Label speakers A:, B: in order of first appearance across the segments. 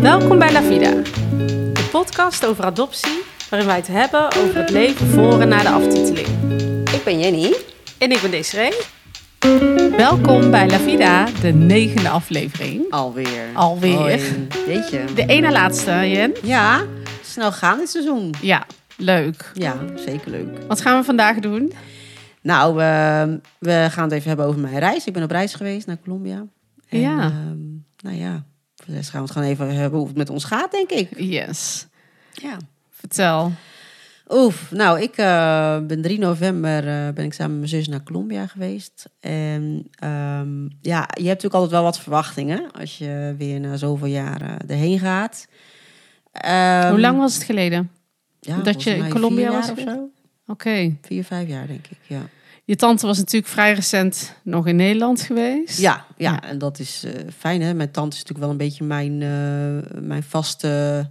A: la Vida, de podcast over adoptie, waarin wij het hebben over het leven voor en na de aftiteling.
B: Ik ben Jenny.
A: En ik ben Desiree. Welkom bij La Vida, de negende aflevering.
B: Alweer.
A: Alweer.
B: Hoi. Weet je.
A: De ene laatste, Jen.
B: Ja, snel gaan dit seizoen.
A: Ja, leuk.
B: Ja, zeker leuk.
A: Wat gaan we vandaag doen?
B: Nou, we, we gaan het even hebben over mijn reis. Ik ben op reis geweest naar Colombia. En,
A: Ja.
B: ehm, nou ja, voor de rest gaan we het gewoon even hebben hoe het met ons gaat, denk ik.
A: Yes.
B: Ja.
A: Vertel.
B: Oef, nou, ik eh, ben 3 november eh, ben ik samen met mijn zus naar Colombia geweest. En ehm, ja, je hebt natuurlijk altijd wel wat verwachtingen als je weer na zoveel jaren erheen gaat. Ehm,
A: Hoe lang was het geleden?
B: ja,
A: dat
B: volgens
A: je in
B: mij
A: Colombia
B: vier jaar
A: was
B: of
A: geweest?
B: zo?
A: Oké.
B: Vier, vijf jaar denk ik, ja.
A: Je tante was natuurlijk vrij recent nog in Nederland geweest.
B: Ja, ja,
A: Ja.
B: en dat is eh, fijn. Hè? Mijn tante is natuurlijk wel een beetje mijn, eh, mijn vaste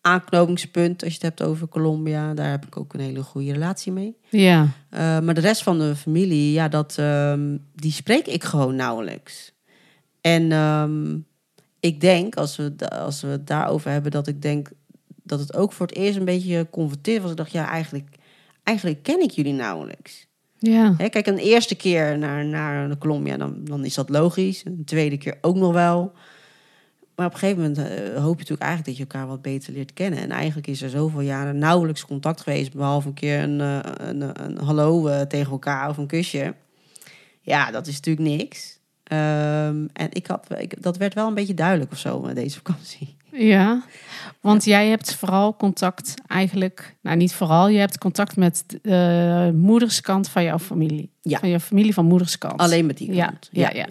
B: aanknopingspunt. Als je het hebt over Colombia, daar heb ik ook een hele goede relatie mee.
A: Ja.
B: Eh, maar de rest van de familie, ja, dat, ehm, die spreek ik gewoon nauwelijks. En ehm, ik denk, als we, da- als we het daarover hebben, dat ik denk dat het ook voor het eerst een beetje converteerd was. Ik dacht, ja, eigenlijk, eigenlijk ken ik jullie nauwelijks.
A: Ja.
B: Hè, kijk, een eerste keer naar, naar de Colombia, dan, dan is dat logisch. Een tweede keer ook nog wel. Maar op een gegeven moment eh, hoop je natuurlijk eigenlijk dat je elkaar wat beter leert kennen. En eigenlijk is er zoveel jaren nauwelijks contact geweest. Behalve een keer een, eh, een, een, hallo eh, tegen elkaar of een kusje. Ja, dat is natuurlijk niks. Ehm, en ik had, ik, dat werd wel een beetje duidelijk of zo met deze vakantie.
A: Ja, want jij hebt vooral contact eigenlijk, nou niet vooral, je hebt contact met de moederskant van jouw familie.
B: Ja.
A: Van jouw familie van moederskant.
B: Alleen met die
A: Ja,
B: kant.
A: ja, ja.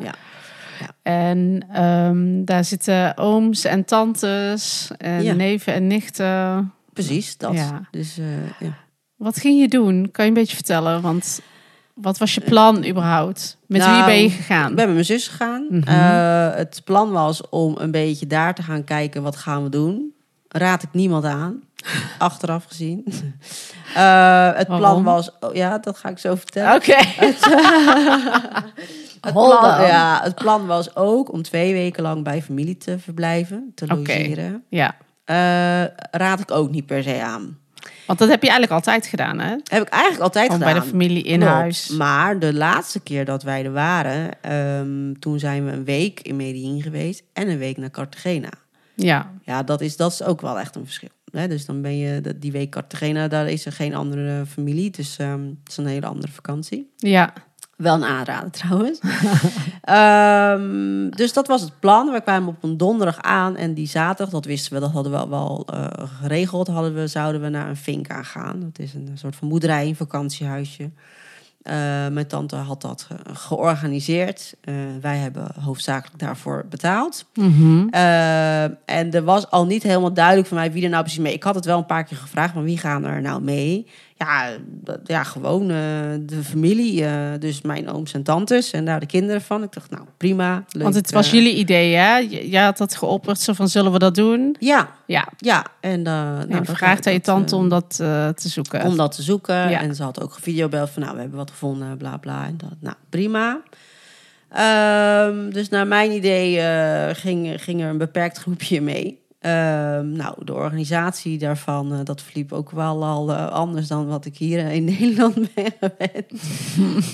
A: En ehm, daar zitten ooms en tantes en
B: Ja.
A: neven en nichten.
B: Precies, dat.
A: Ja.
B: Dus eh, ja.
A: Wat ging je doen? Kan je een beetje vertellen? Want wat was je plan überhaupt? Met wie
B: Nou,
A: ben je gegaan?
B: Ik ben met mijn zus gegaan.
A: Mhm.
B: Eh, het plan was om een beetje daar te gaan kijken, wat gaan we doen? Raad ik niemand aan, achteraf gezien. Eh, het
A: Waarom?
B: plan was, oh, ja, dat ga ik zo vertellen.
A: Oké.
B: Het
A: Hold
B: plan,
A: on.
B: ja, het plan was ook om twee weken lang bij familie te verblijven, te
A: Oké.
B: logeren.
A: Ja,
B: Eh, raad ik ook niet per se aan.
A: want dat heb je eigenlijk altijd gedaan, hè?
B: Heb ik eigenlijk altijd
A: Gewoon bij
B: gedaan.
A: de familie in
B: Klopt.
A: huis.
B: Maar de laatste keer dat wij er waren, ehm, toen zijn we een week in Medellin geweest en een week naar Cartagena.
A: Ja,
B: Ja, dat is, dat is ook wel echt een verschil. Hè? Dus dan ben je dat- die week Cartagena, daar is er geen andere familie. Dus ehm, het is een hele andere vakantie.
A: ja.
B: Wel een aanrader trouwens. Ehm, dus dat was het plan. We kwamen op een donderdag aan en die zaterdag, dat wisten we, dat hadden we al wel eh, geregeld. Hadden we, zouden we naar een finca gaan. Dat is een soort van boerderij, een vakantiehuisje. Eh, mijn tante had dat ge- georganiseerd. Eh, wij hebben hoofdzakelijk daarvoor betaald.
A: Mhm.
B: Eh, en er was al niet helemaal duidelijk voor mij wie er nou precies mee. Ik had het wel een paar keer gevraagd, maar wie gaan er nou mee? Ja, dat- ja gewoon eh, de familie. eh, dus mijn ooms en tantes en daar de kinderen van. Ik dacht, nou prima. Leuk,
A: Want het was
B: eh,
A: jullie idee, hè? J- Jij had dat geopperd, zo van zullen we dat doen?
B: Ja,
A: Ja.
B: ja. En, eh nou,
A: En
B: dat-
A: vraagt aan je
B: dat,
A: tante
B: eh,
A: om dat eh, te zoeken.
B: om dat te zoeken.
A: Ja.
B: En ze had ook gevideobeld van, nou, we hebben wat gevonden, bla bla. En dat, nou, prima. Ehm, dus naar mijn idee eh, ging, ging er een beperkt groepje mee. Ehm, nou, de organisatie daarvan, eh, dat verliep ook wel al eh, anders dan wat ik hier eh, in Nederland ben gewend.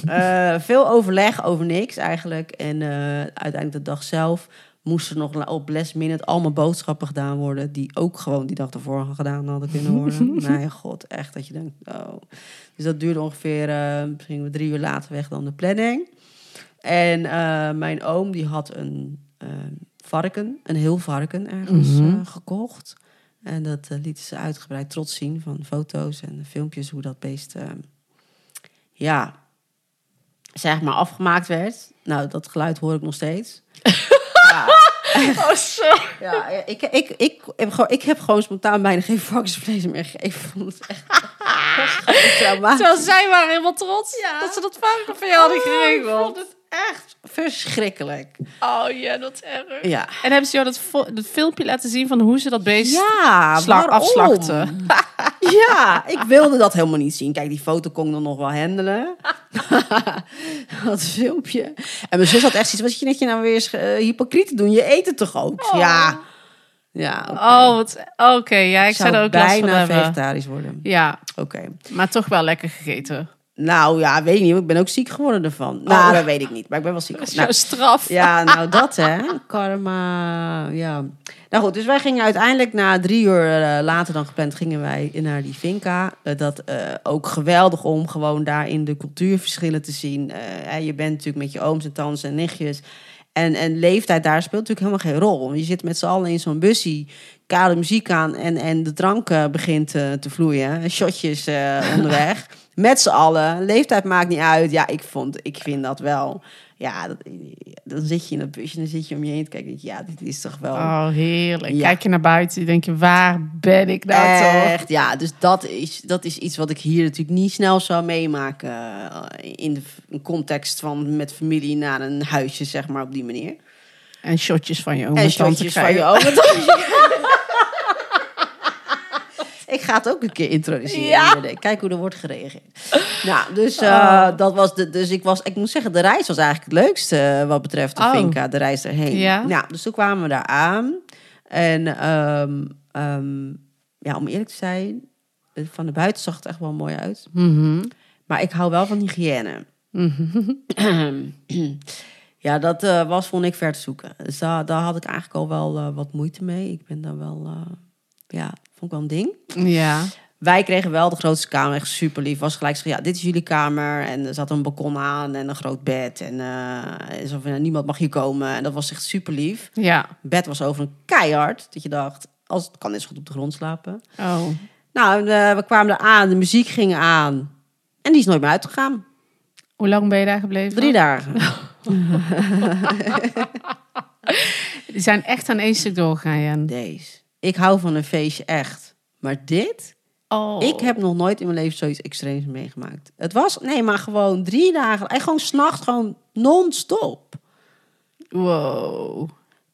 B: Eh, veel overleg over niks eigenlijk. En eh, uiteindelijk de dag zelf moesten nog la- op last minute allemaal boodschappen gedaan worden... die ook gewoon die dag ervoor gedaan hadden kunnen worden. Mijn god, echt dat je denkt... Oh. Dus dat duurde ongeveer eh, misschien drie uur later weg dan de planning. En eh, mijn oom die had een eh, varken, een heel varken ergens
A: Mhm.
B: eh, gekocht. En dat liet lieten ze uitgebreid trots zien van foto's en filmpjes hoe dat beest, eh, ja, zeg maar afgemaakt werd. Nou, dat geluid hoor ik nog steeds. ja,
A: Oh, sorry.
B: ja, ik, ik, ik, heb gewoon, ik heb gewoon spontaan bijna geen varkensvlees meer gegeven. Dat is echt dat is gewoon een trauma.
A: Terwijl zij waren helemaal trots
B: Ja.
A: dat ze dat varken van jou hadden
B: Oh,
A: geregeld.
B: ik vond het echt verschrikkelijk.
A: Oh ja, dat is erg.
B: Ja.
A: En hebben ze jou dat, vo- dat filmpje laten zien van hoe ze dat beest
B: Ja,
A: sla-
B: waarom?
A: afslachten?
B: Ja, ik wilde dat helemaal niet zien. Kijk, die foto kon ik dan nog wel handelen. dat filmpje. En mijn zus had echt zoiets. Wat zit je net je nou weer eens, eh, hypocriet te doen? Je eet het toch ook?
A: Oh.
B: Ja. Ja, oké.
A: Oh, wat- oké. Ja, ik zou er ook last van
B: bijna
A: hebben.
B: vegetarisch worden.
A: Ja,
B: Oké.
A: maar toch wel lekker gegeten.
B: Nou ja, weet niet. Ik ben ook ziek geworden ervan. Nou,
A: Oh.
B: dat weet ik niet. Maar ik ben wel ziek
A: Dat is
B: geworden.
A: jouw
B: Nou,
A: straf.
B: ja, nou dat hè. Karma. Ja. Nou goed, dus wij gingen uiteindelijk na drie uur eh, later dan gepland... gingen wij naar die finca. Eh, dat eh, ook geweldig om gewoon daarin de cultuurverschillen te zien. Eh, hè, je bent natuurlijk met je ooms en tantes en nichtjes... En, en leeftijd daar speelt natuurlijk helemaal geen rol. Want je zit met z'n allen in zo'n bussie, kale muziek aan en, en de drank eh, begint eh, te vloeien. En Shotjes eh, onderweg. Met z'n allen. Leeftijd maakt niet uit. Ja, ik, vond, ik vind dat wel. Ja, dat- dan zit je in dat busje en dan zit je om je heen te kijken. denk je, Ja, dit is toch wel...
A: Oh, heerlijk.
B: Ja.
A: Kijk je naar buiten, denk je, waar ben ik nou toch?
B: Echt, ja. Dus dat is, dat is iets wat ik hier natuurlijk niet snel zou meemaken. eh, In de v- in context van met familie naar een huisje, zeg maar, op die manier.
A: En shotjes van je oom
B: En
A: en tante
B: shotjes van je
A: krijgen.
B: oom en tante. Ik ga het ook een keer introduceren.
A: Ja.
B: Judith. Kijk hoe er wordt gereageerd. Nou, dus, eh, dat was de, dus ik, was, ik moet zeggen, de reis was eigenlijk het leukste eh, wat betreft de
A: Oh.
B: Vinca, de reis erheen.
A: Ja.
B: Nou, dus toen kwamen we daar aan. En ehm, ehm, ja, om eerlijk te zijn, eh, van de buiten zag het echt wel mooi uit.
A: Mhm.
B: Maar ik hou wel van hygiëne. ja, dat eh, was, vond ik ver te zoeken. Dus daar, daar had ik eigenlijk al wel eh, wat moeite mee. Ik ben daar wel, eh, ja, vond ik wel een ding.
A: Ja.
B: Wij kregen wel de grootste kamer, echt super lief. Was gelijk gezegd, ja, dit is jullie kamer. En er zat een balkon aan en een groot bed. En eh, en zo van, ja, niemand mag hier komen. En dat was echt super lief.
A: Ja.
B: Bed was over een keihard. Dat je dacht, als het kan, is het goed op de grond slapen.
A: Oh.
B: Nou, en, eh, we kwamen er aan, de muziek ging aan. En die is nooit meer uitgegaan.
A: Hoe lang ben je daar gebleven?
B: Drie dagen.
A: Die zijn echt aan één stuk doorgegaan, Jan.
B: Deze. Ik hou van een feestje echt. Maar dit?
A: Oh.
B: Ik heb nog nooit in mijn leven zoiets extreems meegemaakt. Het was, nee, maar gewoon drie dagen. En gewoon s'nachts, gewoon non-stop.
A: Wow.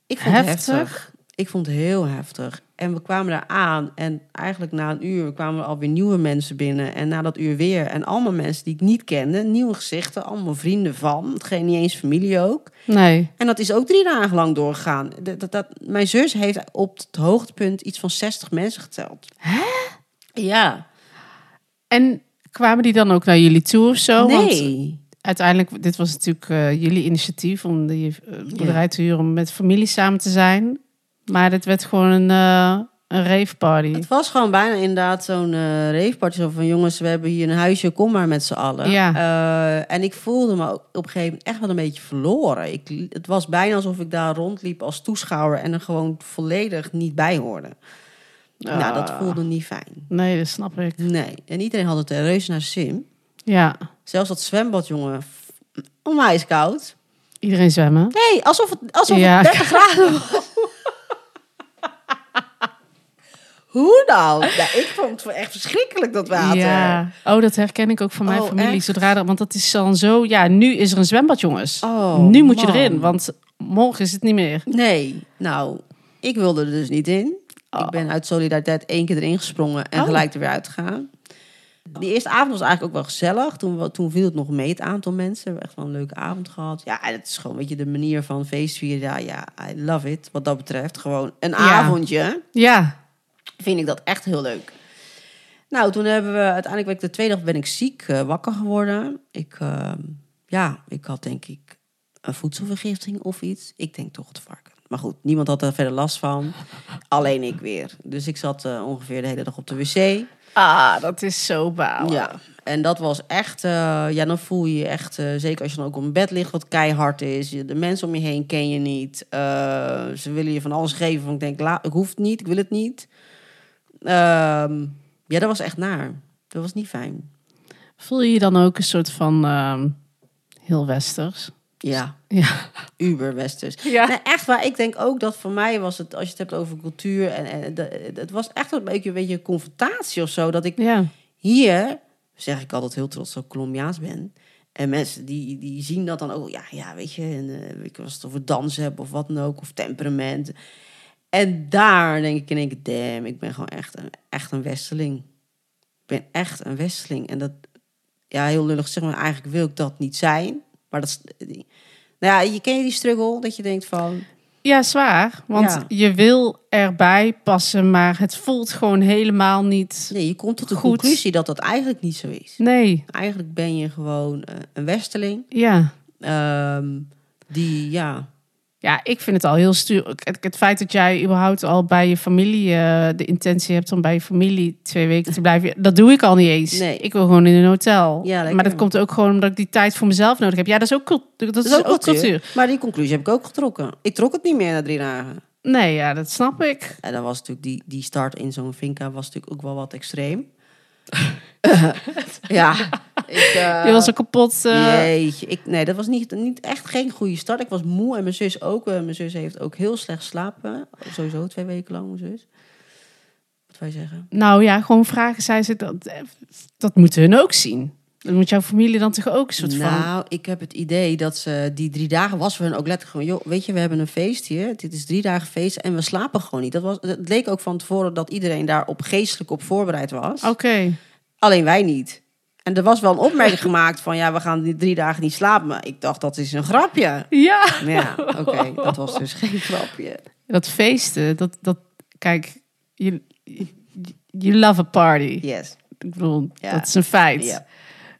B: Ik vond het
A: Heftig.
B: heftig. Ik vond het heel heftig. En we kwamen daar aan. En eigenlijk na een uur kwamen er alweer nieuwe mensen binnen. En na dat uur weer. En allemaal mensen die ik niet kende. Nieuwe gezichten. Allemaal vrienden van. Geen niet eens familie ook.
A: Nee.
B: En dat is ook drie dagen lang doorgegaan. Dat, dat, dat- mijn zus heeft op het hoogtepunt iets van 60 mensen geteld. Hè? Ja.
A: En kwamen die dan ook naar jullie toe of zo? Oh, Want
B: nee.
A: uiteindelijk, dit was natuurlijk eh, jullie initiatief om die eh, boerderij te huren om met familie samen te zijn. Maar dit werd gewoon een, eh een rave party.
B: Het was gewoon bijna inderdaad zo'n eh raveparty. Zo van jongens, we hebben hier een huisje, kom maar met z'n allen.
A: Ja.
B: Eh, en ik voelde me ook op een gegeven moment echt wel een beetje verloren. Ik, het was bijna alsof ik daar rondliep als toeschouwer en er gewoon volledig niet bij hoorde. Nou, dat
A: Ah.
B: voelde niet fijn.
A: Nee, dat snap ik.
B: Nee. En iedereen had het er reuze naar zijn zin.
A: Ja.
B: Zelfs dat zwembad, jongen, f- onwijs koud.
A: Iedereen zwemmen.
B: Nee, alsof het, alsof
A: Ja.
B: het 30 graden was. Hoe dan? Ja, ik vond het echt verschrikkelijk dat water.
A: Ja. Oh, dat herken ik ook van mijn
B: Oh,
A: familie.
B: echt?
A: Zodra er, want dat is dan zo. Ja, nu is er een zwembad, jongens.
B: Oh,
A: nu moet je
B: man.
A: erin, want morgen is het niet meer.
B: Nee, nou, ik wilde er dus niet in. Ik ben uit solidariteit één keer erin gesprongen en
A: Oh.
B: gelijk er weer uitgegaan. Die eerste avond was eigenlijk ook wel gezellig. Toen, wa- toen viel het nog mee, het aantal mensen. We hebben echt wel een leuke avond gehad. Ja, en het is gewoon, weet je, de manier van feestvieren. Ja, ja, I love it, wat dat betreft. Gewoon een avondje.
A: Ja.
B: vind ik dat echt heel leuk. Nou, toen hebben we uiteindelijk ben ik de tweede dag ben ik ziek eh, wakker geworden. Ik, eh, ja, ik had denk ik een voedselvergiftiging of iets. Ik denk toch het varken. Maar goed, niemand had daar verder last van. Alleen ik weer. Dus ik zat eh, ongeveer de hele dag op de wc.
A: Ah, dat is zo baal.
B: Ja, en dat was echt... eh, ja, dan voel je je echt... eh, zeker als je dan ook op een bed ligt wat keihard is. je- De mensen om je heen ken je niet. Eh, ze willen je van alles geven. Van ik denk, la, ik hoef het niet, ik wil het niet. Ehm, ja, dat was echt naar. Dat was niet fijn.
A: Voel je je dan ook een soort van ehm, heel westers?
B: Ja,
A: Ja.
B: uber westers.
A: Ja.
B: Nee, echt waar, ik denk ook dat voor mij was het... Als je het hebt over cultuur... En, en, de- het was echt een beetje, een beetje een confrontatie of zo. Dat ik
A: Ja.
B: Hier zeg ik altijd heel trots dat ik Colombiaans ben. En mensen die, die zien dat dan ook. Ja, ja weet je, en, eh, ik was het over dans hebben of wat dan ook, of temperament. En daar denk ik in één keer, damn, ik ben gewoon echt een, echt een westeling. Ik ben echt een westeling. En dat, ja, heel lullig zeg maar, eh, eigenlijk wil ik dat niet zijn. Maar dat is, nou ja, je kent die struggle, dat je denkt van...
A: Ja, zwaar. Want
B: Ja.
A: je wil erbij passen, maar het voelt gewoon helemaal niet.
B: Nee, je komt tot de
A: Goed.
B: conclusie dat dat eigenlijk niet zo is.
A: Nee,
B: Eigenlijk ben je gewoon eh, een westerling.
A: ja.
B: ehm, die, ja,
A: Ja, ik vind het al heel stuur. Het, het feit dat jij überhaupt al bij je familie eh, de intentie hebt om bij je familie twee weken te blijven, dat doe ik al niet eens.
B: Nee.
A: Ik wil gewoon in een hotel.
B: Ja, lekker.
A: maar dat komt ook gewoon omdat ik die tijd voor mezelf nodig heb. Ja, dat is ook, cult- dat is Dus ook cultuur.
B: Maar die conclusie heb ik ook getrokken. Ik trok het niet meer na drie dagen.
A: Nee, ja, dat snap ik.
B: En dan was natuurlijk die, die start in zo'n finca was natuurlijk ook wel wat extreem. ja. Ik, eh,
A: je was ook kapot. eh,
B: Jeetje, ik, nee, dat was niet, niet echt geen goede start. Ik was moe en mijn zus ook. eh, mijn zus heeft ook heel slecht slapen. Sowieso twee weken lang, mijn zus. Wat wij zeggen.
A: Nou ja, gewoon vragen, zei ze, dat, dat moeten hun ook zien. Dat moet jouw familie dan toch ook een soort van...
B: Nou, ik heb het idee dat ze die drie dagen was voor hen ook letterlijk gewoon... joh, weet je, we hebben een feest hier. Dit is drie dagen feest en we slapen gewoon niet. Dat was, het leek ook van tevoren dat iedereen daar op geestelijk op voorbereid was.
A: Oké,
B: Alleen wij niet. En er was wel een opmerking gemaakt van... ja, we gaan die drie dagen niet slapen. Maar ik dacht, dat is een grapje.
A: ja.
B: Maar ja, oké, dat was dus geen grapje.
A: Dat feesten, dat, dat kijk, je, je- you love a party.
B: Yes.
A: Ik bedoel,
B: Ja.
A: dat is een feit.
B: Ja.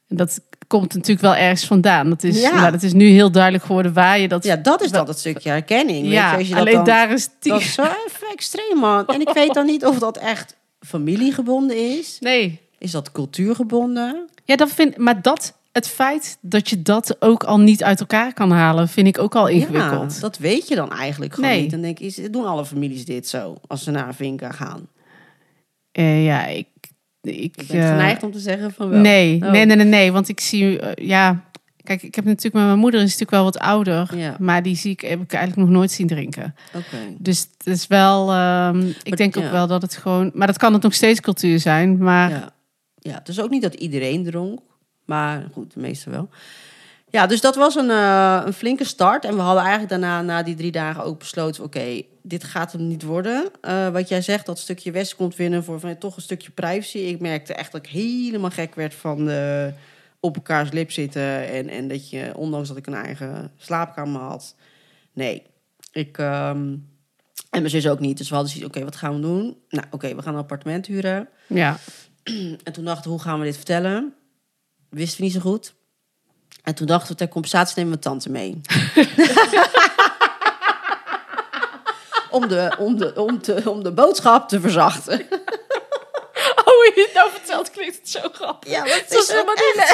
A: En dat komt natuurlijk wel ergens vandaan. Dat is,
B: Ja.
A: nou, dat is nu heel duidelijk geworden waar je dat...
B: Ja, dat is dan het stukje herkenning. weet je,
A: Ja,
B: als je dat
A: alleen
B: dan-
A: daar is tien...
B: Dat is zo even extreem, man. En ik weet dan niet of dat echt familiegebonden is.
A: Nee,
B: Is dat cultuurgebonden?
A: ja, dat vind, maar dat, het feit dat je dat ook al niet uit elkaar kan halen, vind ik ook al ingewikkeld.
B: Ja, dat weet je dan eigenlijk gewoon
A: Nee.
B: niet. Dan denk je, is- doen alle families dit zo als ze naar een vinka gaan?
A: Eh, ja, ik... ik
B: Ik ben
A: eh,
B: geneigd om te zeggen van wel.
A: Nee,
B: Oh.
A: nee, nee, nee, nee, Want ik zie, eh, ja, kijk, ik heb natuurlijk met mijn moeder is natuurlijk wel wat ouder,
B: Ja.
A: maar die zie ik heb ik eigenlijk nog nooit zien drinken.
B: Oké.
A: Dus het is wel, ehm, ik denk
B: ja.
A: ook wel dat het gewoon, maar dat kan het nog steeds cultuur zijn, maar
B: Ja. ja, het is ook niet dat iedereen dronk, maar goed, de meeste wel. Ja, dus dat was een, eh, een flinke start. En we hadden eigenlijk daarna, na die drie dagen, ook besloten: oké, dit gaat hem niet worden. Eh, wat jij zegt, dat stukje West komt winnen voor van, toch een stukje privacy. Ik merkte echt dat ik helemaal gek werd van de, op elkaars lip zitten. En, en dat je, ondanks dat ik een eigen slaapkamer had, nee. Ik, ehm, en mijn zus ook niet. Dus we hadden zoiets: oké, wat gaan we doen? Nou, oké, we gaan een appartement huren.
A: ja,
B: En toen dachten we, hoe gaan we dit vertellen? Wisten we niet zo goed. En toen dachten we, ter compensatie nemen we tante mee. om, de, om, de, om, te, om de boodschap te verzachten.
A: Oh, je het nou vertelt klinkt het zo grappig.
B: Ja, dat
A: is helemaal niet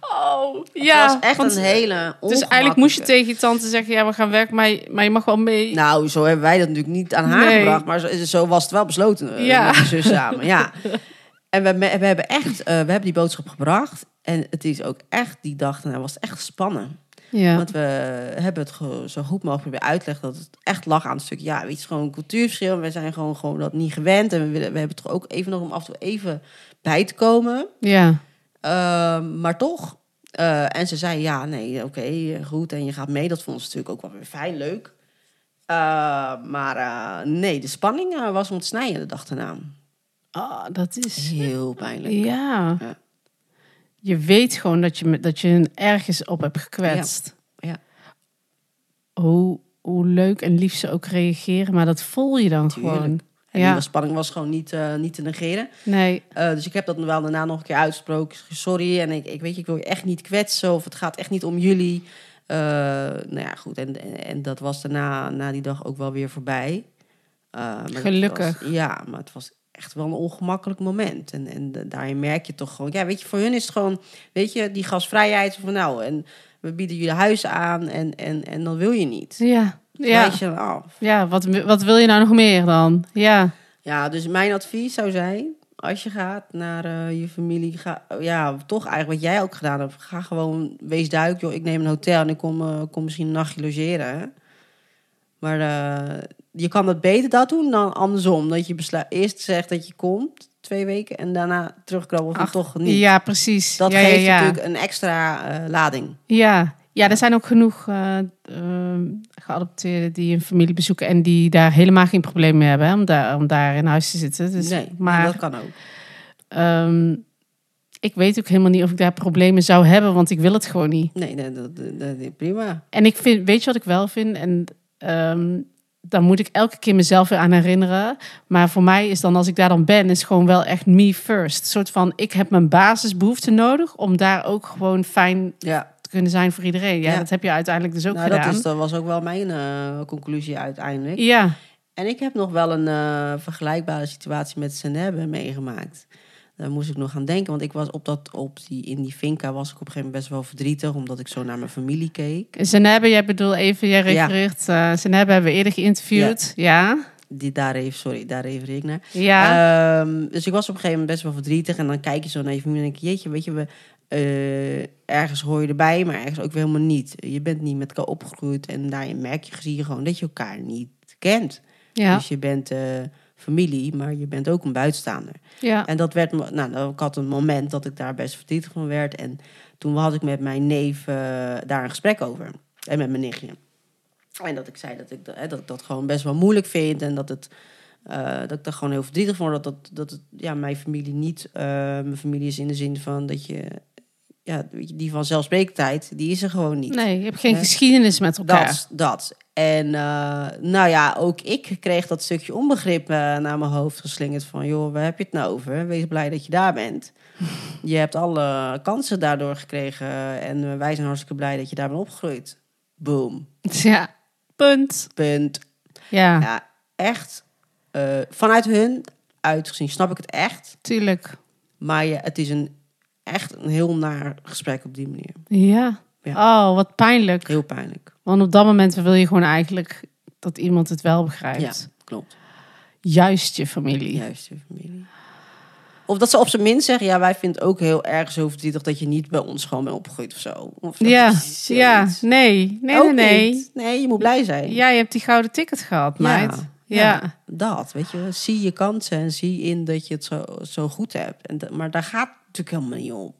A: Oh, ja.
B: Het was echt
A: want-
B: een hele
A: Dus eigenlijk moest je tegen je tante zeggen, ja, we gaan werken, maar je, maar je mag wel mee.
B: Nou, zo hebben wij dat natuurlijk niet aan haar
A: Nee.
B: gebracht. Maar zo, zo was het wel besloten eh,
A: Ja.
B: met mijn zus samen. Ja. En we, me- we hebben echt, eh, we hebben die boodschap gebracht. En het is ook echt, die dag daarna was het echt spannen.
A: ja.
B: Want we hebben het ge- zo goed mogelijk weer uitgelegd dat het echt lag aan het stuk. Ja, weet je, het is gewoon een cultuurverschil. We zijn gewoon, gewoon dat niet gewend. En we, willen, we hebben toch ook even nog om af en toe even bij te komen.
A: ja,
B: Ehm, maar toch. Eh, en ze zei, ja, nee, oké, goed. En je gaat mee. Dat vond ze natuurlijk ook wel weer fijn, leuk. Eh, maar eh, nee, de spanning eh, was ontsnijden de dag daarna.
A: oh, dat is...
B: Heel pijnlijk.
A: Ja.
B: Ja.
A: Je weet gewoon dat je, me- dat je hen ergens op hebt gekwetst.
B: Ja.
A: Hoe, hoe leuk en lief ze ook reageren, maar dat voel je dan
B: Tuurlijk.
A: gewoon.
B: En
A: Ja.
B: die spanning was gewoon niet, eh, niet te negeren.
A: Nee,
B: Eh, dus ik heb dat wel daarna nog een keer uitgesproken. Sorry, en ik, ik weet, je, ik wil je echt niet kwetsen of het gaat echt niet om jullie. Eh, nou ja, goed. En, en, en dat was daarna na die dag ook wel weer voorbij. Eh, maar dat
A: Gelukkig.
B: was- ja, maar het was echt wel een ongemakkelijk moment. En, en da- daarin merk je toch gewoon, ja, weet je, voor hun is het gewoon, weet je, die gasvrijheid van nou, en we bieden jullie huis aan en, en, en dan wil je niet.
A: ja. Ja,
B: Wijs je dan af.
A: ja wat, wat wil je nou nog meer dan? Ja,
B: Ja, dus mijn advies zou zijn: als je gaat naar eh, je familie, ga, ja, toch eigenlijk wat jij ook gedaan hebt, ga gewoon, wees duik, joh, ik neem een hotel en ik kom, eh, kom misschien een nachtje logeren. hè. Maar eh, je kan dat beter dat doen dan andersom. Dat je besluit, eerst zegt dat je komt twee weken en daarna terugkrabbelt van
A: Ach,
B: toch niet.
A: ja precies.
B: Dat
A: ja,
B: geeft
A: ja, ja.
B: natuurlijk een extra eh, lading.
A: Ja. ja, er zijn ook genoeg eh, ehm, geadopteerden die een familie bezoeken en die daar helemaal geen probleem mee Dus hebben hè, om daar, om daar in huis te zitten. Dus,
B: nee,
A: maar
B: dat kan ook.
A: Ehm, ik weet ook helemaal niet of ik daar problemen zou hebben, want ik wil het gewoon niet.
B: Nee, nee, dat, dat, dat- prima.
A: En ik vind, weet je wat ik wel vind? En ehm, dan moet ik elke keer mezelf weer aan herinneren. Maar voor mij is dan, als ik daar dan ben, is gewoon wel echt me first. Een soort van, ik heb mijn basisbehoeften nodig om daar ook gewoon fijn
B: Ja,
A: te kunnen zijn voor iedereen. Ja,
B: Ja.
A: dat heb je uiteindelijk dus ook
B: nou, dat,
A: gedaan.
B: is, dat was ook wel mijn eh, conclusie uiteindelijk.
A: Ja,
B: En ik heb nog wel een eh, vergelijkbare situatie met Senebbe meegemaakt. Daar moest ik nog aan denken, want ik was op dat, op die, in die finca was ik op een gegeven moment best wel verdrietig, omdat ik zo naar mijn familie keek.
A: Zenabe, jij bedoelt even, jij
B: Ja.
A: refereert. eh Zenabe hebben we eerder geïnterviewd. Ja,
B: Die, daar heeft, sorry, daar refereer ik naar.
A: ja.
B: Ehm, dus ik was op een gegeven moment best wel verdrietig. En dan kijk je zo naar je familie en denk je... Jeetje, weet je, we, eh, ergens hoor je erbij, maar ergens ook weer helemaal niet. Je bent niet met elkaar opgegroeid. En daarin merk je, zie je gewoon dat je elkaar niet kent.
A: ja,
B: Dus je bent eh, familie, maar je bent ook een buitenstaander.
A: ja,
B: En dat werd, me- nou, ik had een moment dat ik daar best verdrietig van werd. En toen had ik met mijn neef eh, daar een gesprek over. En met mijn nichtje. En dat ik zei dat ik dat, hè, dat, ik dat gewoon best wel moeilijk vind. En dat, het, eh, dat ik daar gewoon heel verdrietig van word. Dat, dat, dat het, ja, mijn familie niet. eh, mijn familie is in de zin van dat je. Ja, weet je, die vanzelfsprekendheid, die is er gewoon niet.
A: Nee, je hebt geen
B: Nee.
A: geschiedenis met elkaar.
B: Dat, dat. En eh, nou ja, ook ik kreeg dat stukje onbegrip eh, naar mijn hoofd geslingerd van... joh, waar heb je het nou over? Wees blij dat je daar bent. Je hebt alle kansen daardoor gekregen en eh, wij zijn hartstikke blij dat je daar bent opgegroeid. Boom.
A: Ja, punt.
B: Punt.
A: Ja,
B: Ja, echt. eh, vanuit hun uitgezien snap ik het echt.
A: tuurlijk.
B: Maar je, het is een, echt een heel naar gesprek op die manier.
A: Ja. Oh, wat pijnlijk.
B: Heel pijnlijk.
A: Want op dat moment wil je gewoon eigenlijk dat iemand het wel begrijpt.
B: Klopt.
A: Juist je familie.
B: Juist, je familie. Of dat ze op zijn minst zeggen, ja, wij vinden het ook heel erg zo verdrietig dat je niet bij ons gewoon bent opgegroeid of zo. Of dat
A: Ja,
B: is
A: ja,
B: zoiets.
A: nee, nee, nee,
B: Ook
A: nee.
B: niet. Nee, je moet blij zijn.
A: Ja, je hebt die gouden ticket gehad,
B: Ja,
A: meid.
B: ja,
A: ja.
B: dat, weet je. wel. Zie je kansen en zie in dat je het zo, zo goed hebt. En dat- maar daar gaat het natuurlijk helemaal niet om.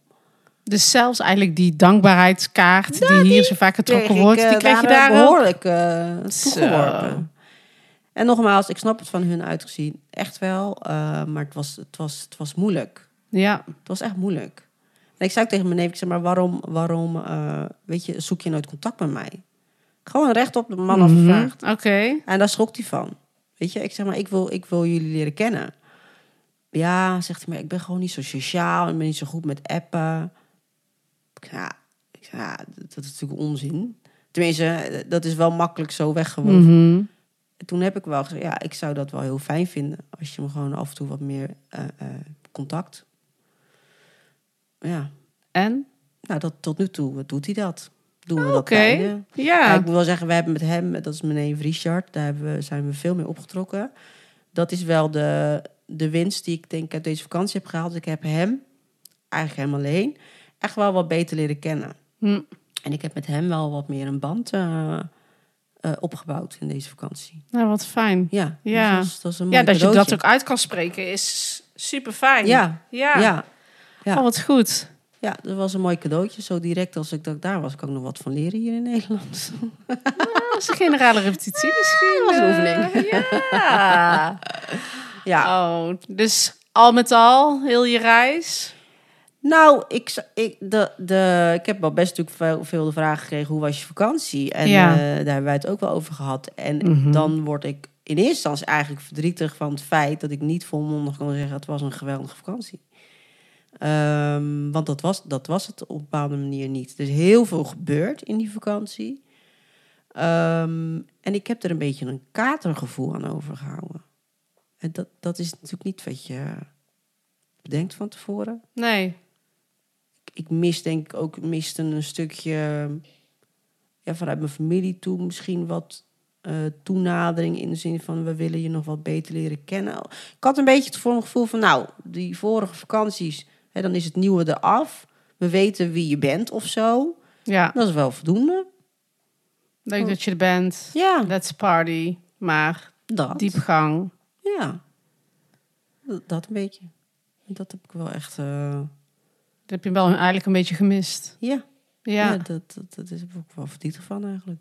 A: Dus zelfs eigenlijk die dankbaarheidskaart die, hier zo vaak getrokken
B: Kreeg ik,
A: wordt,
B: eh,
A: die krijg je
B: daardoor
A: daar ook.
B: behoorlijk eh,
A: Zo.
B: toegeworpen. En nogmaals, ik snap het van hun uitgezien echt wel, eh, maar het was, het, was, het was moeilijk.
A: Ja,
B: Het was echt moeilijk. En ik zei ook tegen mijn neef, ik zei, maar waarom, waarom eh, weet je, zoek je nooit contact met mij? Gewoon recht op de man
A: Mhm.
B: afgevraagd.
A: Oké.
B: En daar schrok hij van. Weet je, ik zeg maar, ik wil, ik wil jullie leren kennen. Ja, zegt hij, maar ik ben gewoon niet zo sociaal. Ik ben niet zo goed met appen. Ik zeg, ja, ik zeg, ja dat dat is natuurlijk onzin. Tenminste, eh, dat is wel makkelijk zo weggewoond.
A: Mhm.
B: Toen heb ik wel gezegd, ja, ik zou dat wel heel fijn vinden... als je me gewoon af en toe wat meer eh, eh, contact... Ja,
A: En?
B: nou, dat, tot nu toe doet hij dat. Doen we
A: Oké.
B: dat kleine.
A: Ja.
B: Ja, ik moet wel zeggen, we hebben met hem, dat is mijn neef Richard, daar hebben we, zijn we veel mee opgetrokken. Dat is wel de, de winst die ik denk uit deze vakantie heb gehaald. Dus Ik heb hem, eigenlijk hem alleen, echt wel wat beter leren kennen.
A: Hm.
B: En ik heb met hem wel wat meer een band eh, eh, opgebouwd in deze vakantie.
A: Nou, wat fijn.
B: Ja,
A: Ja.
B: Dus dat, is, dat is een mooi
A: Ja, dat je dat
B: cadeautje.
A: ook uit kan spreken is super fijn.
B: Ja,
A: Ja.
B: ja. ja.
A: Oh, wat goed.
B: Ja, dat was een mooi cadeautje. Zo direct als ik dat daar was, kan ik nog wat van leren hier in Nederland.
A: Dat is een generale repetitie misschien.
B: dat was een
A: eh, ja.
B: ja,
A: Oh, dus al met al, heel je reis.
B: Nou, ik, z- ik, de, de, ik heb wel best natuurlijk veel, veel de vraag gekregen: hoe was je vakantie? En
A: Ja.
B: eh, daar hebben wij het ook wel over gehad. En
A: Mhm.
B: dan word ik in eerste instantie eigenlijk verdrietig van het feit dat ik niet volmondig kan zeggen: het was een geweldige vakantie. Ehm, want dat was, dat was het op een bepaalde manier niet. Er is heel veel gebeurd in die vakantie. Ehm, en ik heb er een beetje een katergevoel aan overgehouden. En dat, dat is natuurlijk niet wat je bedenkt van tevoren
A: Nee.
B: ik mis denk ik ook miste een stukje ja, vanuit mijn familie toe misschien wat eh, toenadering in de zin van we willen je nog wat beter leren kennen. Ik had een beetje het voor- gevoel van nou die vorige vakanties, hè, dan is het nieuwe eraf. We weten wie je bent of zo.
A: Ja,
B: Dat is wel voldoende.
A: leuk dat je er bent.
B: Ja,
A: Let's party. Maar
B: dat.
A: diepgang.
B: Ja, D- dat een beetje. Dat heb ik wel echt. eh,
A: Dat heb je wel eigenlijk een beetje gemist.
B: ja, ja.
A: Ja,
B: dat, dat, dat is heb ik wel verdrietig van eigenlijk.